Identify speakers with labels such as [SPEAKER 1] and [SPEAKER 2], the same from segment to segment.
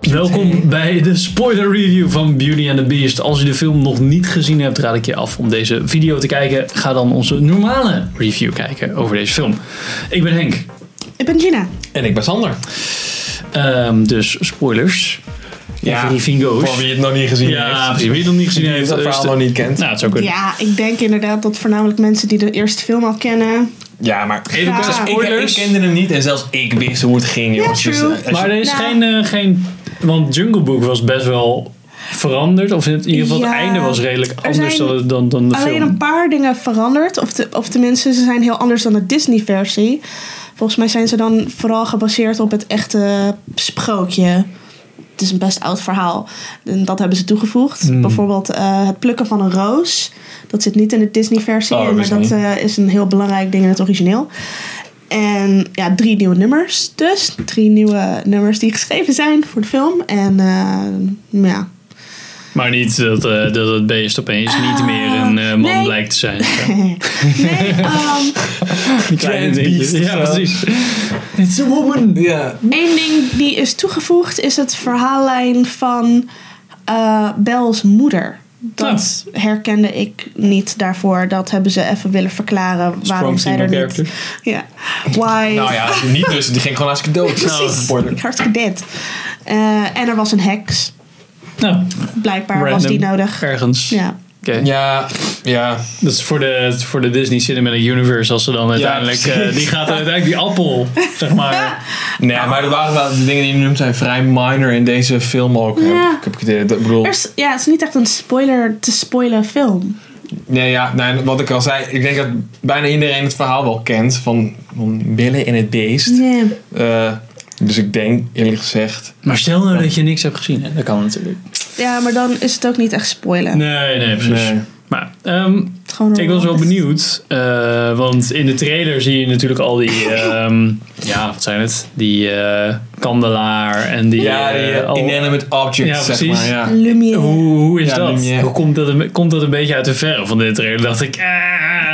[SPEAKER 1] Welkom bij de spoiler review van Beauty and the Beast. Als je de film nog niet gezien hebt, raad ik je af om deze video te kijken. Ga dan onze normale review kijken over deze film. Ik ben Henk,
[SPEAKER 2] Ik ben Gina.
[SPEAKER 3] En ik ben Sander.
[SPEAKER 1] Ehm, dus spoilers. Even die vingo's.
[SPEAKER 3] Voor wie het nog niet gezien
[SPEAKER 1] Ja,
[SPEAKER 3] heeft.
[SPEAKER 1] precies. Wie het nog niet gezien
[SPEAKER 3] Die
[SPEAKER 1] heeft,
[SPEAKER 3] dat
[SPEAKER 1] eh,
[SPEAKER 3] verhaal
[SPEAKER 1] st-
[SPEAKER 3] nog niet kent.
[SPEAKER 1] Nou, het zou kunnen.
[SPEAKER 2] Ja, ik denk inderdaad dat voornamelijk mensen die de eerste film al kennen.
[SPEAKER 3] Ja, maar
[SPEAKER 1] Even
[SPEAKER 2] Ja.
[SPEAKER 1] korte
[SPEAKER 2] Ik- ik
[SPEAKER 1] spoilers.
[SPEAKER 3] Ik, kende hem niet en zelfs ik wist hoe het ging. jongens.
[SPEAKER 2] true.
[SPEAKER 3] Dus, eh, als
[SPEAKER 1] maar er
[SPEAKER 3] je-
[SPEAKER 1] is
[SPEAKER 2] Nou.
[SPEAKER 1] geen, eh, geen... Want Jungle Book was best wel veranderd. Of in ieder geval het
[SPEAKER 2] Ja.
[SPEAKER 1] einde was redelijk
[SPEAKER 2] Er
[SPEAKER 1] anders
[SPEAKER 2] zijn
[SPEAKER 1] dan, dan, dan de
[SPEAKER 2] Alleen
[SPEAKER 1] film.
[SPEAKER 2] een paar dingen veranderd. Of, te, of tenminste, ze zijn heel anders dan de Disney-versie. Volgens mij zijn ze dan vooral gebaseerd op het echte sprookje. Het is een best oud verhaal. En dat hebben ze toegevoegd.
[SPEAKER 3] Hmm.
[SPEAKER 2] Bijvoorbeeld eh, het plukken van een roos. Dat zit niet in de Disney-versie.
[SPEAKER 3] Oh, dat
[SPEAKER 2] maar
[SPEAKER 3] is
[SPEAKER 2] dat
[SPEAKER 3] niet.
[SPEAKER 2] eh, is een heel belangrijk ding in het origineel. En ja, drie nieuwe nummers dus. Drie nieuwe nummers die geschreven zijn voor de film. En eh, ja,
[SPEAKER 1] Maar niet dat, eh, dat het beest opeens niet meer een eh, man
[SPEAKER 2] Ah, nee.
[SPEAKER 1] blijkt te zijn.
[SPEAKER 2] nee, ehm,
[SPEAKER 1] Die
[SPEAKER 3] Giant
[SPEAKER 1] dingetjes.
[SPEAKER 3] beast.
[SPEAKER 1] Ja, precies. It's a woman.
[SPEAKER 3] Ja.
[SPEAKER 2] Eén ding die is toegevoegd is het verhaallijn van eh Belle's moeder. Dat herkende ik niet daarvoor. Dat hebben ze even willen verklaren waarom zij er
[SPEAKER 1] female
[SPEAKER 2] niet... Ja. Why...
[SPEAKER 3] Nou ja, niet dus. Die ging gewoon hartstikke dood.
[SPEAKER 2] Precies.
[SPEAKER 3] Nou,
[SPEAKER 2] Hartstikke dit. Eh, en er was een heks.
[SPEAKER 1] Nou,
[SPEAKER 2] Blijkbaar was
[SPEAKER 1] random.
[SPEAKER 2] die nodig.
[SPEAKER 1] Ergens.
[SPEAKER 2] Ja.
[SPEAKER 1] Oké.
[SPEAKER 3] ja, ja.
[SPEAKER 1] Dat is voor de, voor de Disney Cinematic Universe als ze dan uiteindelijk... eh,
[SPEAKER 3] precies.
[SPEAKER 1] die gaat dan uiteindelijk die appel, zeg maar.
[SPEAKER 3] Nee, maar er waren wel, de dingen die je noemt zijn vrij minor in deze film ook.
[SPEAKER 2] Ja.
[SPEAKER 3] Heb ik- heb ik het idee. Dat- Ik bedoel,
[SPEAKER 2] Er is, ja, het is niet echt een spoiler te spoilen film.
[SPEAKER 3] nee, ja, nee, wat ik al zei. Ik denk dat bijna iedereen het verhaal wel kent van, van Billy en het beest.
[SPEAKER 2] Nee.
[SPEAKER 3] Eh, dus ik denk eerlijk gezegd.
[SPEAKER 1] Maar stel nou dat je niks hebt gezien. Hè? Dat kan natuurlijk.
[SPEAKER 2] Ja, maar dan is het ook niet echt spoilen.
[SPEAKER 1] Nee, nee, precies.
[SPEAKER 3] Nee.
[SPEAKER 1] Maar ehm,
[SPEAKER 2] Het is gewoon
[SPEAKER 1] ik was wel
[SPEAKER 2] een-
[SPEAKER 1] benieuwd, eh, want in de trailer zie je natuurlijk al die, ehm, ja, wat zijn het? Die eh, kandelaar en die...
[SPEAKER 3] Ja, die
[SPEAKER 1] eh,
[SPEAKER 3] eh,
[SPEAKER 1] al-
[SPEAKER 3] inanimate objects,
[SPEAKER 1] Ja,
[SPEAKER 3] zeg
[SPEAKER 1] precies.
[SPEAKER 3] maar. Ja.
[SPEAKER 2] Lumière.
[SPEAKER 1] hoe, hoe is
[SPEAKER 3] Ja,
[SPEAKER 1] dat?
[SPEAKER 3] lumière.
[SPEAKER 1] Hoe komt dat, een- komt dat een beetje uit de verre van de trailer? Dacht ik, eh,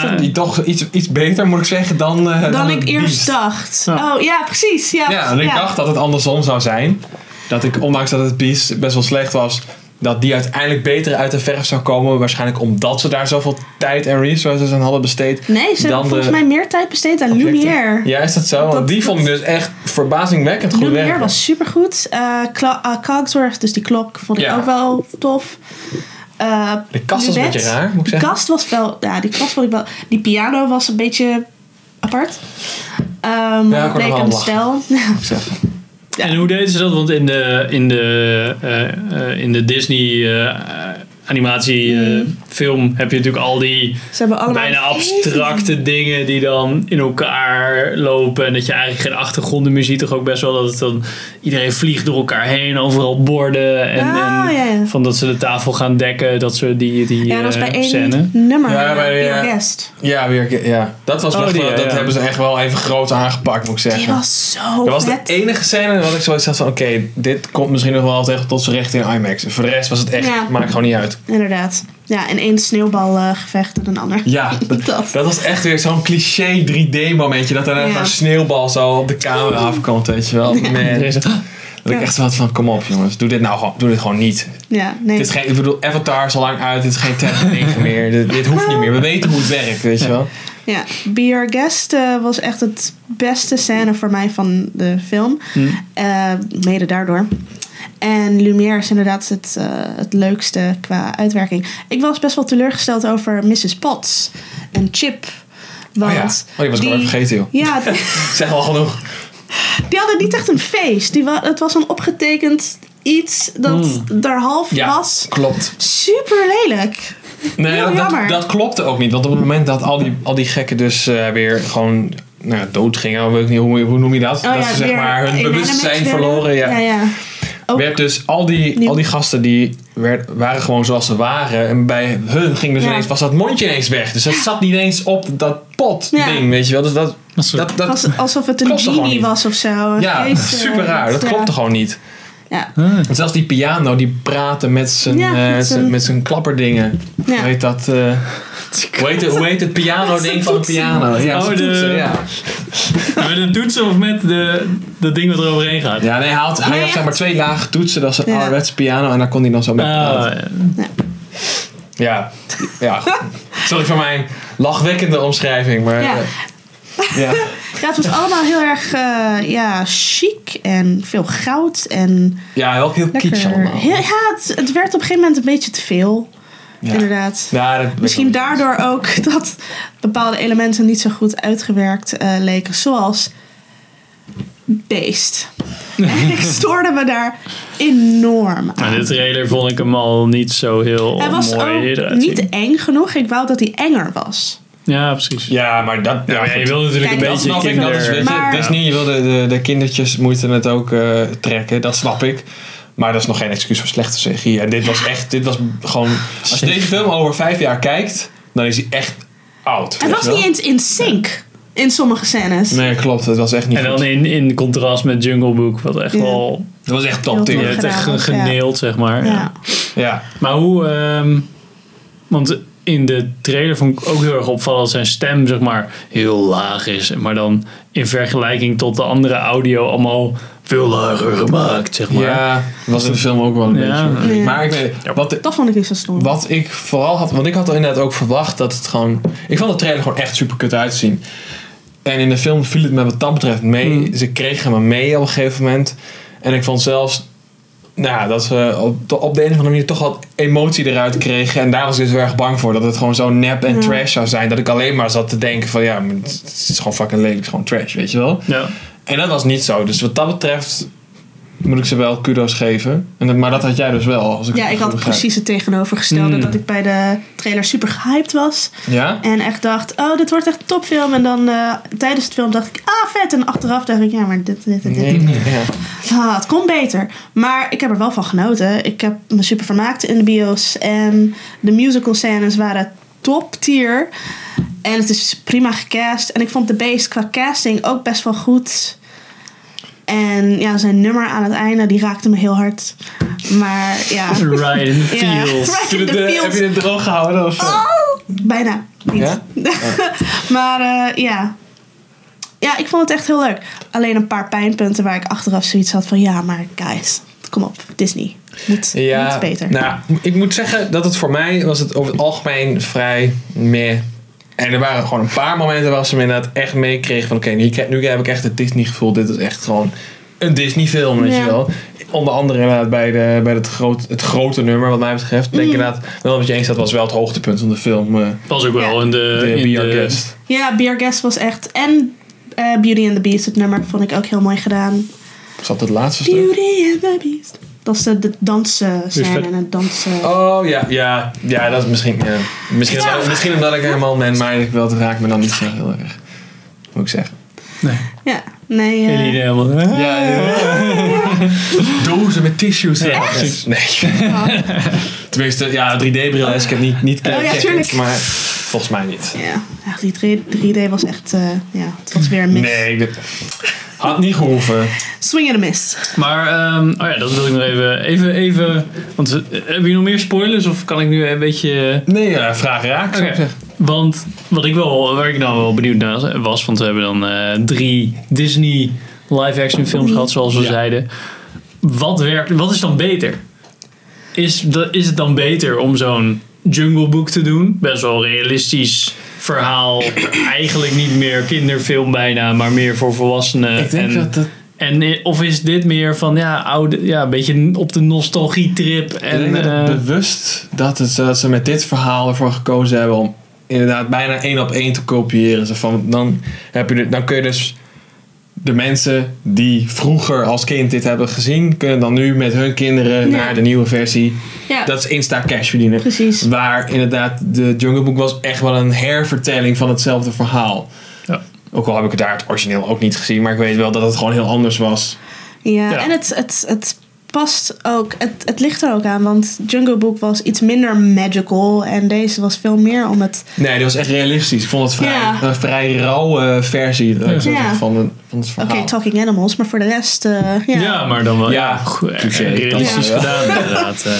[SPEAKER 3] vond die toch iets, iets beter, moet ik zeggen, dan, eh,
[SPEAKER 2] dan ik
[SPEAKER 3] het
[SPEAKER 2] eerst
[SPEAKER 3] Beast.
[SPEAKER 2] dacht.
[SPEAKER 1] Ja.
[SPEAKER 2] Oh ja, precies. Ja,
[SPEAKER 3] Ja, en ik dacht dat het andersom zou zijn. Dat ik, ondanks dat het Beast best wel slecht was, dat die uiteindelijk beter uit de verf zou komen. Waarschijnlijk omdat ze daar zoveel tijd en resources aan hadden besteed.
[SPEAKER 2] Nee, ze
[SPEAKER 3] Dan
[SPEAKER 2] hebben
[SPEAKER 3] de
[SPEAKER 2] volgens mij meer tijd besteed aan Lumière.
[SPEAKER 3] Ja, is dat zo? Want
[SPEAKER 2] Dat-
[SPEAKER 3] die vond ik dus echt verbazingwekkend goed
[SPEAKER 2] Lumière
[SPEAKER 3] werken.
[SPEAKER 2] was supergoed. Eh Cla- eh, Cogsworth, dus die klok, vond ik
[SPEAKER 3] Ja.
[SPEAKER 2] ook wel tof. Eh,
[SPEAKER 3] De kast was een
[SPEAKER 2] Lubet.
[SPEAKER 3] beetje raar, moet ik
[SPEAKER 2] De
[SPEAKER 3] zeggen.
[SPEAKER 2] kast was wel... Ja, die kast vond ik wel... Die piano was een beetje apart. Ehm
[SPEAKER 3] Ja, ik word er
[SPEAKER 2] leek
[SPEAKER 3] wel
[SPEAKER 2] een
[SPEAKER 3] om
[SPEAKER 2] stijl.
[SPEAKER 3] moet ik zeggen.
[SPEAKER 1] En hoe deden ze dat? Want in de, in de, eh, eh, in de Disney animatiefilm heb je natuurlijk al die
[SPEAKER 2] Ze hebben Mm. allemaal...
[SPEAKER 1] bijna abstracte dingen die dan in elkaar lopen. En dat je eigenlijk geen achtergronden meer ziet. Toch ook best wel dat het dan iedereen vliegt door elkaar heen. Overal borden. En,
[SPEAKER 2] Ah,
[SPEAKER 1] en
[SPEAKER 2] ja, ja.
[SPEAKER 1] van dat ze de tafel gaan dekken. Dat ze die, die
[SPEAKER 2] Ja, dat was
[SPEAKER 1] eh,
[SPEAKER 2] bij één
[SPEAKER 1] scène.
[SPEAKER 2] nummer. eh,
[SPEAKER 3] Ja, bij eh, de-
[SPEAKER 2] Be Our Guest.
[SPEAKER 3] Ja, weer, ja, dat was
[SPEAKER 1] Oh,
[SPEAKER 3] wel,
[SPEAKER 1] die,
[SPEAKER 3] dat
[SPEAKER 1] ja, ja.
[SPEAKER 3] hebben ze echt wel even groot aangepakt, moet ik
[SPEAKER 2] Die
[SPEAKER 3] zeggen.
[SPEAKER 2] was zo
[SPEAKER 3] Dat was de
[SPEAKER 2] vet.
[SPEAKER 3] enige scène wat ik zoiets had van... Oké, dit komt misschien nog wel tegen tot zijn recht in IMAX. En Voor de rest was het echt...
[SPEAKER 2] Ja.
[SPEAKER 3] Maakt gewoon niet uit.
[SPEAKER 2] Inderdaad. Ja, en één sneeuwbalgevecht en een ander.
[SPEAKER 3] Ja, dat,
[SPEAKER 2] Dat.
[SPEAKER 3] dat was echt weer zo'n cliché 3D momentje. Dat er net
[SPEAKER 2] Ja.
[SPEAKER 3] zo'n sneeuwbal zo op de camera afkomt, weet je wel. Man.
[SPEAKER 1] Deze-
[SPEAKER 3] Dat ik echt zo had van, kom op jongens. Doe dit nou gewoon, doe dit gewoon niet.
[SPEAKER 2] Ja, nee.
[SPEAKER 3] Dit is geen, ik bedoel, Avatar is al lang uit. Dit is geen tab 9 meer. Dit, dit hoeft niet meer. We weten hoe het werkt, weet je wel.
[SPEAKER 2] Ja, Be Your Guest eh, was echt het beste scène voor mij van de film.
[SPEAKER 3] Hm.
[SPEAKER 2] Eh, mede daardoor. En Lumière is inderdaad het, eh, het leukste qua uitwerking. Ik was best wel teleurgesteld over Mrs. Potts en Chip. Want
[SPEAKER 3] Oh ja. Oh, die was ik al even vergeten, joh.
[SPEAKER 2] Ja, die,
[SPEAKER 3] Zeg al genoeg.
[SPEAKER 2] die hadden niet echt een feest. Die wa- het was een opgetekend iets dat daar half
[SPEAKER 3] Hm. Ja,
[SPEAKER 2] was.
[SPEAKER 3] klopt.
[SPEAKER 2] Super lelijk.
[SPEAKER 3] Nee,
[SPEAKER 2] Heel
[SPEAKER 3] dat,
[SPEAKER 2] jammer.
[SPEAKER 3] dat, dat klopte ook niet. Want op het moment dat al die, al die gekken dus eh, weer gewoon nou, ja, dood gingen, weet ik niet, hoe, hoe noem je dat? dat ze zeg
[SPEAKER 2] Oh weer
[SPEAKER 3] maar hun
[SPEAKER 2] inanimate
[SPEAKER 3] bewustzijn
[SPEAKER 2] werden.
[SPEAKER 3] verloren. Ja.
[SPEAKER 2] ja, Ook-
[SPEAKER 3] Werd dus al die,
[SPEAKER 2] Nieuw.
[SPEAKER 3] al die gasten die werd, waren gewoon zoals ze waren. En bij hun ging dus
[SPEAKER 2] Ja.
[SPEAKER 3] ineens, was dat mondje ineens weg. Dus dat zat niet eens op dat pot
[SPEAKER 2] Ja.
[SPEAKER 3] ding, weet je wel. Dus dat,
[SPEAKER 1] Dat is-
[SPEAKER 3] dat, dat,
[SPEAKER 2] Als- alsof het een
[SPEAKER 3] Klopt er gewoon
[SPEAKER 2] genie
[SPEAKER 3] niet.
[SPEAKER 2] was of zo. Een
[SPEAKER 3] ja,
[SPEAKER 2] geest, eh,
[SPEAKER 3] super raar. Dat
[SPEAKER 2] ja.
[SPEAKER 3] klopte gewoon niet.
[SPEAKER 2] Ja.
[SPEAKER 1] Ah,
[SPEAKER 3] Want zelfs die piano die praatte met zijn,
[SPEAKER 2] Ja,
[SPEAKER 3] eh,
[SPEAKER 2] met
[SPEAKER 3] zijn-
[SPEAKER 2] zijn-
[SPEAKER 3] met zijn klapperdingen.
[SPEAKER 2] Ja.
[SPEAKER 3] Hoe heet dat? eh, hoe, heet het, hoe heet het piano
[SPEAKER 2] Met zijn
[SPEAKER 3] ding van het
[SPEAKER 2] toetsen.
[SPEAKER 3] piano? Ja,
[SPEAKER 1] Oh,
[SPEAKER 3] zijn
[SPEAKER 1] de-
[SPEAKER 3] toetsen, ja.
[SPEAKER 1] met een toets of met de, dat ding wat er overheen gaat?
[SPEAKER 3] ja, nee, hij had, hij
[SPEAKER 2] Nee,
[SPEAKER 3] had
[SPEAKER 2] ja.
[SPEAKER 3] zeg maar twee lage toetsen. Dat is een
[SPEAKER 2] Ja.
[SPEAKER 3] ouderwetse piano en daar kon hij dan zo mee praten.
[SPEAKER 1] Ah,
[SPEAKER 3] Ja, ja. Sorry voor mijn lachwekkende omschrijving, maar...
[SPEAKER 2] Ja.
[SPEAKER 3] eh, ja.
[SPEAKER 2] Ja, het was allemaal heel erg eh, ja, chic en veel goud en
[SPEAKER 3] Ja, wel heel kitsch
[SPEAKER 2] lekker.
[SPEAKER 3] allemaal.
[SPEAKER 2] Heel- ja, het, het werd op een gegeven moment een beetje te veel,
[SPEAKER 3] Ja.
[SPEAKER 2] inderdaad.
[SPEAKER 3] Ja, dat-
[SPEAKER 2] Misschien daardoor ook dat bepaalde elementen niet zo goed uitgewerkt eh, leken, zoals beest. En ik stoorde me daar enorm aan.
[SPEAKER 1] maar de trailer vond ik hem al niet zo heel
[SPEAKER 2] Hij was
[SPEAKER 1] mooi
[SPEAKER 2] ook
[SPEAKER 1] eruit zien.
[SPEAKER 2] niet eng genoeg. Ik wou dat hij enger was.
[SPEAKER 1] Ja, precies.
[SPEAKER 3] Ja, maar dat... Ja,
[SPEAKER 1] Ja,
[SPEAKER 3] goed.
[SPEAKER 1] je wil natuurlijk
[SPEAKER 2] Kijk,
[SPEAKER 1] een
[SPEAKER 3] Dat
[SPEAKER 1] beetje
[SPEAKER 3] snap ik, dat is, weet je,
[SPEAKER 1] kinder...
[SPEAKER 2] Maar-
[SPEAKER 3] Disney, je wil de, de, de kindertjes moeten het ook eh, trekken, dat snap ik. Maar dat is nog geen excuus voor slechte CGI. En dit was echt, dit was gewoon... Als je deze film over vijf jaar kijkt, dan is hij echt oud.
[SPEAKER 2] Hij
[SPEAKER 3] weet
[SPEAKER 2] was
[SPEAKER 3] je wel?
[SPEAKER 2] niet eens in sync in sommige scènes.
[SPEAKER 3] Nee, klopt, het was echt niet
[SPEAKER 1] En
[SPEAKER 3] goed.
[SPEAKER 1] dan in, in contrast met Jungle Book, wat echt
[SPEAKER 2] Ja.
[SPEAKER 1] wel...
[SPEAKER 3] Het was echt
[SPEAKER 2] Heel
[SPEAKER 3] top
[SPEAKER 1] Je
[SPEAKER 2] Ja,
[SPEAKER 3] tier.
[SPEAKER 1] hebt echt
[SPEAKER 2] gedaan,
[SPEAKER 1] ge- geneeld, zeg maar.
[SPEAKER 2] Ja.
[SPEAKER 3] Ja.
[SPEAKER 1] Maar hoe... ehm, want in de trailer vond ik ook heel erg opvallend dat zijn stem, zeg maar, heel laag is. Maar dan in vergelijking tot de andere audio allemaal veel lager gemaakt, zeg maar.
[SPEAKER 3] ja, was in de film ook wel een
[SPEAKER 1] Ja.
[SPEAKER 3] beetje.
[SPEAKER 2] Ja.
[SPEAKER 3] Maar ik weet, wat,
[SPEAKER 2] Dat vond ik niet zo stom.
[SPEAKER 3] Wat ik vooral had, want ik had inderdaad ook verwacht dat het gewoon. Ik vond de trailer gewoon echt super kut uitzien. En in de film viel het me wat dat betreft mee.
[SPEAKER 2] Hmm.
[SPEAKER 3] Ze kregen me mee op een gegeven moment. En ik vond zelfs nou, ja, dat ze op de, op de een of andere manier toch wat emotie eruit kregen. En daar was ik dus heel erg bang voor. Dat het gewoon zo nep en
[SPEAKER 2] Ja.
[SPEAKER 3] trash zou zijn. Dat ik alleen maar zat te denken van ja, maar het het is gewoon fucking lelijk. Het is gewoon trash, weet je wel.
[SPEAKER 1] Ja.
[SPEAKER 3] En dat was niet zo. Dus wat dat betreft moet ik ze wel kudos geven. En, dat- maar dat had jij dus wel. Als ik
[SPEAKER 2] Ja,
[SPEAKER 3] het
[SPEAKER 2] ik
[SPEAKER 3] goed
[SPEAKER 2] had
[SPEAKER 3] begrijp.
[SPEAKER 2] precies het tegenovergestelde.
[SPEAKER 1] Mm.
[SPEAKER 2] Dat ik bij de trailer super gehyped was.
[SPEAKER 3] Ja?
[SPEAKER 2] En echt dacht, oh, dit wordt echt een topfilm. En dan eh, tijdens het film dacht ik, ah, vet. En achteraf dacht ik, ja, maar dit, dit, dit, dit.
[SPEAKER 3] Nee, nee, ja.
[SPEAKER 2] Ah, het kon beter. Maar ik heb er wel van genoten. Ik heb me super vermaakt in de bios. En de musical scènes waren top tier. En het is prima gecast. En ik vond The Beast qua casting ook best wel goed. En ja, zijn nummer aan het einde, die raakte me heel hard. Maar ja...
[SPEAKER 1] Ryan
[SPEAKER 2] Ja,
[SPEAKER 1] Fields.
[SPEAKER 2] right
[SPEAKER 3] Heb
[SPEAKER 2] in
[SPEAKER 3] je,
[SPEAKER 2] the
[SPEAKER 3] het, eh, heb
[SPEAKER 2] fields.
[SPEAKER 3] je het droog gehouden? Of, eh?
[SPEAKER 2] Oh, Bijna niet.
[SPEAKER 3] Ja?
[SPEAKER 2] maar eh, ja. Ja, ik vond het echt heel leuk. Alleen een paar pijnpunten waar ik achteraf zoiets had van... Ja, maar guys, kom op. Disney. Moet, moet beter.
[SPEAKER 3] Nou, ik moet zeggen dat het voor mij was het over het algemeen vrij meh. En er waren gewoon een paar momenten waar ze me inderdaad echt meekregen van... Oké, nu, krijg- nu heb ik echt het Disney gevoel. Dit is echt gewoon een Disney film, weet
[SPEAKER 2] Ja.
[SPEAKER 3] je wel. Onder andere inderdaad bij, de, bij het, groot, het grote nummer wat mij betreft. Denk ik inderdaad wel met je eens, dat was wel het hoogtepunt van de film. eh
[SPEAKER 1] Was ook wel
[SPEAKER 2] Ja.
[SPEAKER 1] in de...
[SPEAKER 3] de
[SPEAKER 1] in
[SPEAKER 3] Be Our
[SPEAKER 1] de-
[SPEAKER 3] Guest.
[SPEAKER 2] Ja, Beer Guest was echt... En eh, Beauty and the Beast, het nummer, vond ik ook heel mooi gedaan.
[SPEAKER 3] Zat het laatste stuk?
[SPEAKER 2] Beauty and the Beast. Dat is de, de dansen
[SPEAKER 1] vet.
[SPEAKER 2] scène en het dansen...
[SPEAKER 3] Oh ja, ja, ja, dat is misschien. Ja. Misschien,
[SPEAKER 2] Ja.
[SPEAKER 3] omdat- misschien omdat ik helemaal ben, maar ik wel, het raakt me dan niet zo heel erg. Moet ik zeggen.
[SPEAKER 2] Ja, nee... eh,
[SPEAKER 1] Jullie helemaal...
[SPEAKER 3] Ja, Dozen met tissues.
[SPEAKER 1] Ja,
[SPEAKER 3] Echt?
[SPEAKER 1] precies.
[SPEAKER 3] Nee. Tenminste, ja, 3D-bril is. Ik heb niet, niet kunnen
[SPEAKER 2] Oh ja,
[SPEAKER 3] checken,
[SPEAKER 2] tuurlijk.
[SPEAKER 3] maar volgens mij niet.
[SPEAKER 2] ja, ja, die 3D was echt... eh, ja, het was weer een mis.
[SPEAKER 3] Nee, dit had niet gehoeven.
[SPEAKER 2] Swing and a miss.
[SPEAKER 1] Maar, ehm, oh ja, dat wil ik nog even. Even, even. Want we- eh, hebben jullie nog meer spoilers? Of kan ik nu een beetje. eh,
[SPEAKER 3] Nee, ja, vraag raakt. zou ik
[SPEAKER 1] Oké.
[SPEAKER 3] zeggen.
[SPEAKER 1] Want wat ik wel, waar ik nou wel benieuwd naar was, want we hebben dan eh, drie Disney live-action films gehad, zoals we
[SPEAKER 3] Ja.
[SPEAKER 1] zeiden. Wat, werkt, wat is dan beter? Is, da- is het dan beter om zo'n Jungle Book te doen? Best wel realistisch verhaal. Eigenlijk niet meer kinderfilm bijna, maar meer voor volwassenen.
[SPEAKER 3] Ik denk
[SPEAKER 1] En-
[SPEAKER 3] dat het,
[SPEAKER 1] en i- of is dit meer van ja, oude, ja, een beetje op de nostalgietrip
[SPEAKER 3] ik denk
[SPEAKER 1] en
[SPEAKER 3] dat het
[SPEAKER 1] eh,
[SPEAKER 3] bewust dat, het, eh, dat ze met dit verhaal ervoor gekozen hebben om inderdaad bijna één op één te kopiëren. Zo van, dan, heb je, de- dan kun je dus de mensen die vroeger als kind dit hebben gezien, kunnen dan nu met hun kinderen
[SPEAKER 2] Ja.
[SPEAKER 3] naar de nieuwe versie
[SPEAKER 2] Ja,
[SPEAKER 3] Dat is Insta Cash verdienen.
[SPEAKER 2] precies.
[SPEAKER 3] Waar inderdaad de Jungle Book was echt wel een hervertelling van hetzelfde verhaal.
[SPEAKER 1] Ja.
[SPEAKER 3] Ook al heb ik het daar het origineel ook niet gezien, maar ik weet wel dat het gewoon heel anders was.
[SPEAKER 2] Ja,
[SPEAKER 1] Ja.
[SPEAKER 2] en het, het, het past ook, het, het ligt er ook aan, want Jungle Book was iets minder magical en deze was veel meer om het.
[SPEAKER 3] Nee, die was echt realistisch. Ik vond het vrij,
[SPEAKER 2] Ja.
[SPEAKER 3] een vrij rauwe eh, versie laat ik zo
[SPEAKER 2] Ja.
[SPEAKER 3] zeggen, van, het- van het
[SPEAKER 2] Oké,
[SPEAKER 3] verhaal.
[SPEAKER 2] talking animals, maar voor de rest. eh,
[SPEAKER 1] Ja,
[SPEAKER 2] ja.
[SPEAKER 1] maar dan wel.
[SPEAKER 3] Ja,
[SPEAKER 1] Ja, goed, eh,
[SPEAKER 3] touché,
[SPEAKER 1] realistisch
[SPEAKER 3] dat
[SPEAKER 1] gedaan inderdaad. eh.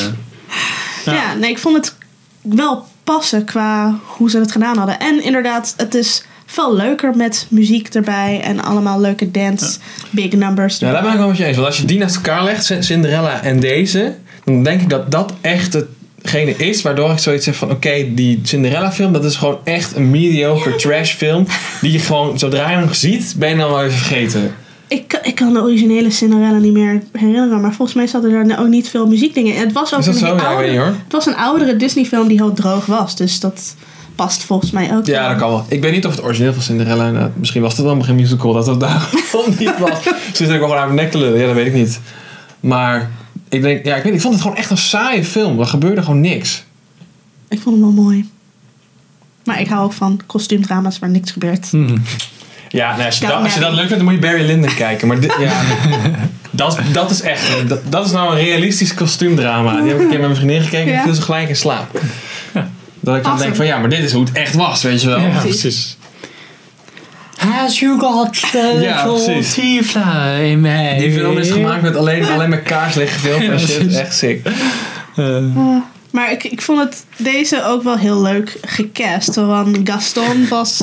[SPEAKER 2] Ja. nee, ik vond het wel passen qua hoe ze het gedaan hadden. En inderdaad, het is veel leuker met muziek erbij en allemaal leuke dance, big numbers.
[SPEAKER 3] Ja, daar ben ik wel met je eens. Want als je die naast elkaar legt, Cin- Cinderella en deze, dan denk ik dat dat echt hetgene is waardoor ik zoiets zeg van oké, die Cinderella film, dat is gewoon echt een mediocre trash film die je gewoon, zodra je hem ziet, ben je dan wel even vergeten.
[SPEAKER 2] Ik, ik kan de originele Cinderella niet meer herinneren, maar volgens mij zaten er ook niet veel muziekdingen. in. Het was ook
[SPEAKER 3] Is dat
[SPEAKER 2] een
[SPEAKER 3] zo? Ja, ik
[SPEAKER 2] oude-
[SPEAKER 3] weet niet hoor.
[SPEAKER 2] Het was een oudere Disney-film die heel droog was, dus dat past volgens mij ook.
[SPEAKER 3] Ja, dat kan wel. Ik weet niet of het origineel van Cinderella inderdaad- Misschien was dat wel geen musical, dat het daarom niet was. Ze zit ook wel gewoon aan mijn nek te lullen. Ja, dat weet ik niet. Maar ik denk, ja, ik weet niet, Ik vond het gewoon echt een saaie film. Er gebeurde gewoon niks.
[SPEAKER 2] Ik vond hem wel mooi. Maar ik hou ook van kostuumdrama's waar niks gebeurt.
[SPEAKER 3] Hmm.
[SPEAKER 1] Hm.
[SPEAKER 3] Ja, nou, als, je
[SPEAKER 2] Down
[SPEAKER 3] dat, als je dat
[SPEAKER 2] Abbey.
[SPEAKER 3] leuk vindt, dan moet je Barry Lyndon kijken. Maar dit, ja, dat, dat is echt, dat, dat is nou een realistisch kostuumdrama. Die heb ik een keer met mijn vriendin gekeken en
[SPEAKER 2] Ja.
[SPEAKER 3] ik viel ze gelijk in slaap. Dat ik dan
[SPEAKER 2] Awesome.
[SPEAKER 3] denk van, ja, maar dit is hoe het echt was, weet je wel.
[SPEAKER 1] Ja,
[SPEAKER 2] precies.
[SPEAKER 1] precies. Has you got the
[SPEAKER 3] Ja, precies.
[SPEAKER 1] in me?
[SPEAKER 3] Die film is gemaakt met alleen, alleen maar kaarslicht gefilmd en shit.
[SPEAKER 1] precies.
[SPEAKER 3] Echt sick.
[SPEAKER 2] Ah. Maar ik, ik vond het, deze ook wel heel leuk gecast. Want Gaston was.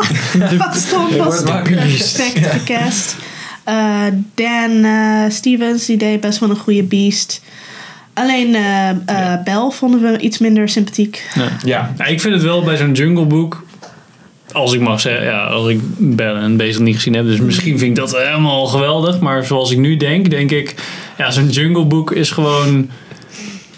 [SPEAKER 2] Ah, Gaston
[SPEAKER 3] Ja,
[SPEAKER 2] was
[SPEAKER 3] maar-
[SPEAKER 2] perfect gecast. Eh, Dan eh, Stevens, die deed best wel een goede beast. Alleen eh eh, Bel vonden we iets minder sympathiek.
[SPEAKER 3] Ja,
[SPEAKER 1] Ja, ik vind het wel bij zo'n Jungle Book. Als ik mag zeggen, ja, als ik Bellen en Bezel niet gezien heb. Dus misschien vind ik dat helemaal geweldig. Maar zoals ik nu denk, denk ik. Ja, zo'n Jungle Book is gewoon.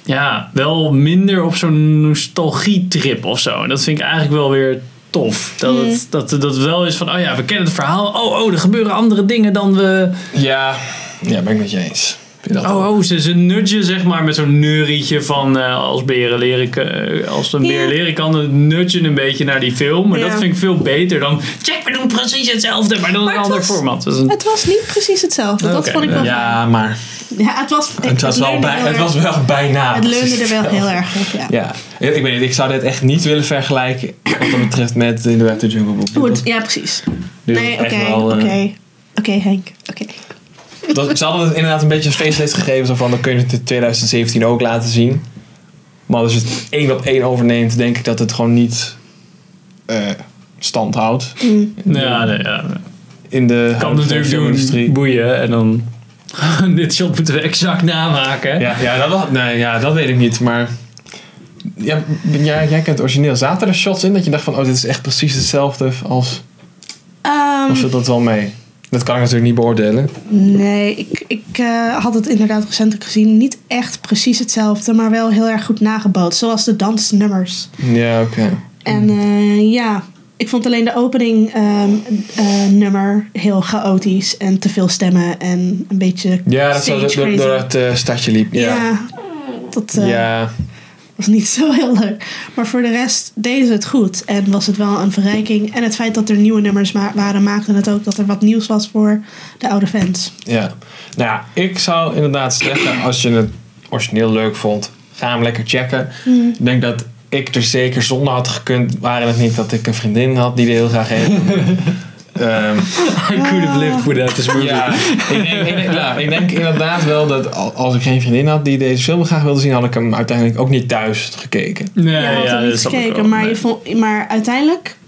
[SPEAKER 1] Ja, wel minder op zo'n nostalgietrip of zo. En dat vind ik eigenlijk wel weer tof. Dat het dat, dat het wel is van, oh ja, we kennen het verhaal. Oh, oh, er gebeuren andere dingen dan we.
[SPEAKER 3] Ja, ja ben ik met je eens. Vind je dat ook?
[SPEAKER 1] Oh, oh ze, ze nudgen zeg maar met zo'n neurietje van eh, als beren leren, ke- eh, als een
[SPEAKER 2] Ja.
[SPEAKER 1] beer leren kan, dan nudgen een beetje naar die film. Maar dat
[SPEAKER 2] Ja.
[SPEAKER 1] vind ik veel beter dan, check we doen precies hetzelfde, maar dan
[SPEAKER 2] Maar
[SPEAKER 1] een
[SPEAKER 2] het
[SPEAKER 1] ander
[SPEAKER 2] was-
[SPEAKER 1] format. Dat is een-
[SPEAKER 2] Het was niet precies hetzelfde. Dat
[SPEAKER 1] Oké,
[SPEAKER 2] vond ik wel. Ja,
[SPEAKER 3] Ja, maar
[SPEAKER 2] het was.
[SPEAKER 3] het was, wel
[SPEAKER 2] leunde
[SPEAKER 3] bij,
[SPEAKER 2] heel
[SPEAKER 3] het
[SPEAKER 2] erg-
[SPEAKER 3] was wel bijna.
[SPEAKER 2] het leunde er wel heel
[SPEAKER 3] erg.
[SPEAKER 2] erg op. Ja.
[SPEAKER 3] Ja, ik ik weet niet, ik zou dit echt niet willen vergelijken wat dat betreft met in de Web de Jungle Book.
[SPEAKER 2] Goed, ja, precies.
[SPEAKER 3] Dit was
[SPEAKER 2] Nee,
[SPEAKER 3] echt
[SPEAKER 2] oké,
[SPEAKER 3] wel, eh,
[SPEAKER 2] oké. Oké, Henk. Oké.
[SPEAKER 3] dat- Ze hadden het inderdaad een beetje een facelift gegeven, zo van dan kun je het in 2017 ook laten zien. Maar als je het één op één overneemt, denk ik dat het gewoon niet eh, stand houdt
[SPEAKER 2] Mm.
[SPEAKER 1] ja, nee, ja.
[SPEAKER 3] in de
[SPEAKER 1] kan
[SPEAKER 3] huidige
[SPEAKER 1] natuurlijk doen,
[SPEAKER 3] filmindustrie.
[SPEAKER 1] boeien en dan dit shot moeten we exact namaken.
[SPEAKER 3] Ja, ja, dat, was- nee, ja, dat weet ik niet, maar... Ja, jij, jij kent het origineel. Zaten er shots in dat je dacht van... Oh, dit is echt precies hetzelfde als...
[SPEAKER 2] Ehm,
[SPEAKER 3] Of zit dat wel mee? Dat kan ik natuurlijk niet beoordelen.
[SPEAKER 2] Nee, ik, ik eh, had het inderdaad recentelijk gezien. Niet echt precies hetzelfde, maar wel heel erg goed nagebootst. Zoals de dansnummers.
[SPEAKER 3] Ja, oké.
[SPEAKER 2] En
[SPEAKER 3] Mm.
[SPEAKER 2] eh, ja, ik vond alleen de opening ehm, eh, nummer heel chaotisch. En te veel stemmen en een beetje
[SPEAKER 3] Ja, dat
[SPEAKER 2] stage
[SPEAKER 3] zou door,
[SPEAKER 2] crazy.
[SPEAKER 3] door het eh, stadje liep.
[SPEAKER 2] ja.
[SPEAKER 3] Ja.
[SPEAKER 2] dat
[SPEAKER 3] Ja.
[SPEAKER 2] eh, was niet zo heel leuk. Maar voor de rest deden ze het goed. En was het wel een verrijking. En het feit dat er nieuwe nummers ma- waren, maakte het ook dat er wat nieuws was voor de oude fans.
[SPEAKER 3] ja. Nou ja, ik zou inderdaad zeggen... Als je het origineel leuk vond... Ga hem lekker checken.
[SPEAKER 2] Hmm.
[SPEAKER 3] Ik denk dat ik er zeker zonder had gekund... Waren het niet dat ik een vriendin had die er heel graag heen. Ehm
[SPEAKER 1] I could have lived without this movie.
[SPEAKER 3] Ja, ik denk, ik, denk, ja, ik denk inderdaad wel dat al- als ik geen vriendin had die deze film graag wilde zien, had ik hem uiteindelijk ook niet thuis gekeken.
[SPEAKER 1] Nee,
[SPEAKER 2] Je had
[SPEAKER 1] ja,
[SPEAKER 2] er
[SPEAKER 1] dat
[SPEAKER 2] niet
[SPEAKER 1] snap ik
[SPEAKER 2] gekeken,
[SPEAKER 1] wel.
[SPEAKER 2] maar,
[SPEAKER 1] Nee.
[SPEAKER 2] je vond, maar uiteindelijk...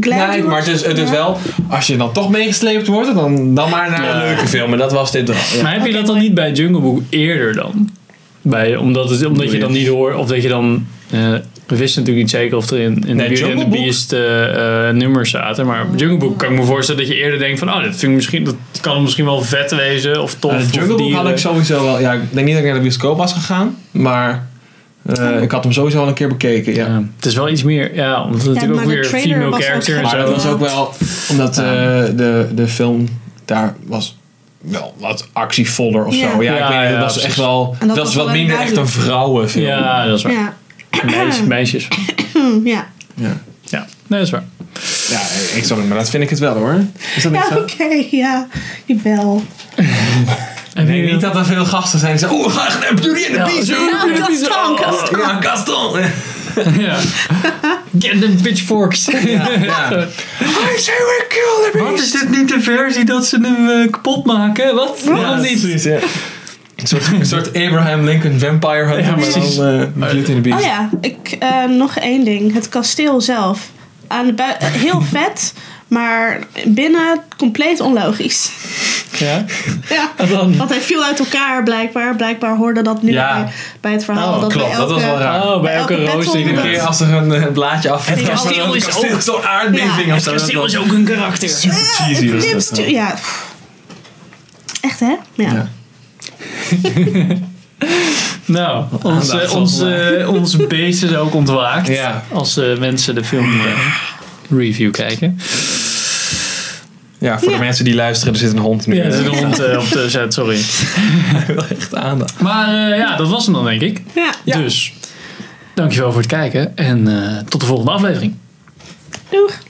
[SPEAKER 2] Glad
[SPEAKER 3] Nee,
[SPEAKER 2] je
[SPEAKER 3] maar het
[SPEAKER 2] was-
[SPEAKER 3] is, het is
[SPEAKER 2] ja.
[SPEAKER 3] wel, als je dan toch meegesleept wordt, dan, dan maar naar een
[SPEAKER 1] Ja.
[SPEAKER 3] leuke film. En dat was dit wel. Ja.
[SPEAKER 1] Maar heb je dat dan niet bij Jungle Book eerder dan? Bij, omdat het, omdat je dan niet hoort, of dat je dan... eh, we wisten natuurlijk niet zeker of er in, in
[SPEAKER 3] Nee,
[SPEAKER 1] de Beauty
[SPEAKER 3] Jungle
[SPEAKER 1] and the
[SPEAKER 3] Book-
[SPEAKER 1] Beast eh, eh, nummers zaten. Maar bij Jungle Book kan ik me voorstellen dat je eerder denkt van... Oh, dat, vind ik misschien, dat kan misschien wel vet wezen of tof.
[SPEAKER 3] Eh,
[SPEAKER 1] of
[SPEAKER 3] Jungle Book had
[SPEAKER 1] dieren.
[SPEAKER 3] ik sowieso wel. Ja, ik denk niet dat ik naar de bioscoop was gegaan, maar eh, ik had hem sowieso al een keer bekeken. Ja.
[SPEAKER 1] Ja, het is wel iets meer... Ja, omdat het natuurlijk
[SPEAKER 2] maar
[SPEAKER 1] ook
[SPEAKER 2] de
[SPEAKER 1] weer
[SPEAKER 2] trailer
[SPEAKER 1] female
[SPEAKER 2] was ook
[SPEAKER 1] character en
[SPEAKER 3] Maar dat
[SPEAKER 1] zo.
[SPEAKER 2] gelijk.
[SPEAKER 3] was ook wel omdat eh, de, de film daar was wel wat actievoller of
[SPEAKER 2] Ja.
[SPEAKER 3] zo. Ja,
[SPEAKER 1] Ja,
[SPEAKER 3] ik weet niet,
[SPEAKER 1] ja,
[SPEAKER 3] dat was
[SPEAKER 1] precies.
[SPEAKER 3] echt wel.
[SPEAKER 2] En dat
[SPEAKER 3] dat is
[SPEAKER 2] was
[SPEAKER 3] wat
[SPEAKER 2] wel
[SPEAKER 3] minder echt een
[SPEAKER 2] duidelijk.
[SPEAKER 3] vrouwenfilm.
[SPEAKER 1] Ja, dat is waar.
[SPEAKER 2] Ja.
[SPEAKER 1] Meisjes, meisjes.
[SPEAKER 2] Hm, ja.
[SPEAKER 3] Ja.
[SPEAKER 1] Ja, nee, dat is waar.
[SPEAKER 3] Ja, ik zou maar dat vind ik het wel hoor. Is dat niet
[SPEAKER 2] Ja,
[SPEAKER 3] zo?
[SPEAKER 2] oké, ja. Jawel.
[SPEAKER 1] Heb
[SPEAKER 3] Nee,
[SPEAKER 1] je-
[SPEAKER 3] niet dat er veel gasten zijn die zeggen, oeh, we gaan echt naar Beauty and the Beast, joh,
[SPEAKER 2] Ja,
[SPEAKER 3] Beauty and the Beast."
[SPEAKER 2] Gaston, Gaston.
[SPEAKER 3] Ja, Gaston.
[SPEAKER 1] Ja. Get them pitchforks.
[SPEAKER 3] Ja. I say we kill the beast.
[SPEAKER 1] Wat is dit niet de versie dat ze hem eh, kapot maken? Wat? Waarom niet?
[SPEAKER 3] Precies, ja. Een soort, een soort Abraham Lincoln vampire hunter,
[SPEAKER 1] Ja,
[SPEAKER 3] maar dan
[SPEAKER 1] precies.
[SPEAKER 3] eh, Beauty and the Beast.
[SPEAKER 2] Oh ja, ik, eh, nog één ding. Het kasteel zelf. Aan de bui- eh, heel vet, maar binnen compleet onlogisch.
[SPEAKER 1] Ja.
[SPEAKER 2] Ja.
[SPEAKER 1] En dan...
[SPEAKER 2] Want hij viel uit elkaar blijkbaar. Blijkbaar hoorde dat nu
[SPEAKER 3] Ja.
[SPEAKER 2] bij, bij het verhaal.
[SPEAKER 3] Oh,
[SPEAKER 2] dat
[SPEAKER 3] klopt.
[SPEAKER 2] Bij
[SPEAKER 3] Dat
[SPEAKER 2] elke,
[SPEAKER 3] was wel raar.
[SPEAKER 1] Oh, bij
[SPEAKER 2] Bij
[SPEAKER 1] elke
[SPEAKER 2] elke
[SPEAKER 1] roos.
[SPEAKER 2] battle
[SPEAKER 1] die
[SPEAKER 3] Iedere
[SPEAKER 1] er-
[SPEAKER 3] keer als er een eh, blaadje af
[SPEAKER 1] Het kasteel is ook-
[SPEAKER 3] zo'n
[SPEAKER 2] Ja.
[SPEAKER 3] aardbeving of
[SPEAKER 1] Het
[SPEAKER 3] zo.
[SPEAKER 1] kasteel
[SPEAKER 3] Dat-
[SPEAKER 1] is ook een karakter.
[SPEAKER 3] Super cheesy. was dat
[SPEAKER 2] Lips
[SPEAKER 3] dan.
[SPEAKER 2] to- ja. pff. Echt hè? Ja.
[SPEAKER 3] Ja.
[SPEAKER 1] Nou,
[SPEAKER 3] Aandacht
[SPEAKER 1] ons, eh,
[SPEAKER 3] van
[SPEAKER 1] ons, eh, ons beest is ook ontwaakt.
[SPEAKER 3] Ja.
[SPEAKER 1] Als eh, mensen de film eh, review kijken.
[SPEAKER 3] Ja, voor
[SPEAKER 2] Ja.
[SPEAKER 3] de mensen die luisteren, er zit een hond nu.
[SPEAKER 1] Ja, er zit een hond eh, op de set, sorry.
[SPEAKER 3] Echt aandacht.
[SPEAKER 1] Maar eh, ja, dat was hem dan denk ik.
[SPEAKER 2] ja.
[SPEAKER 1] Dus, dankjewel voor het kijken en eh, tot de volgende aflevering.
[SPEAKER 2] Doeg.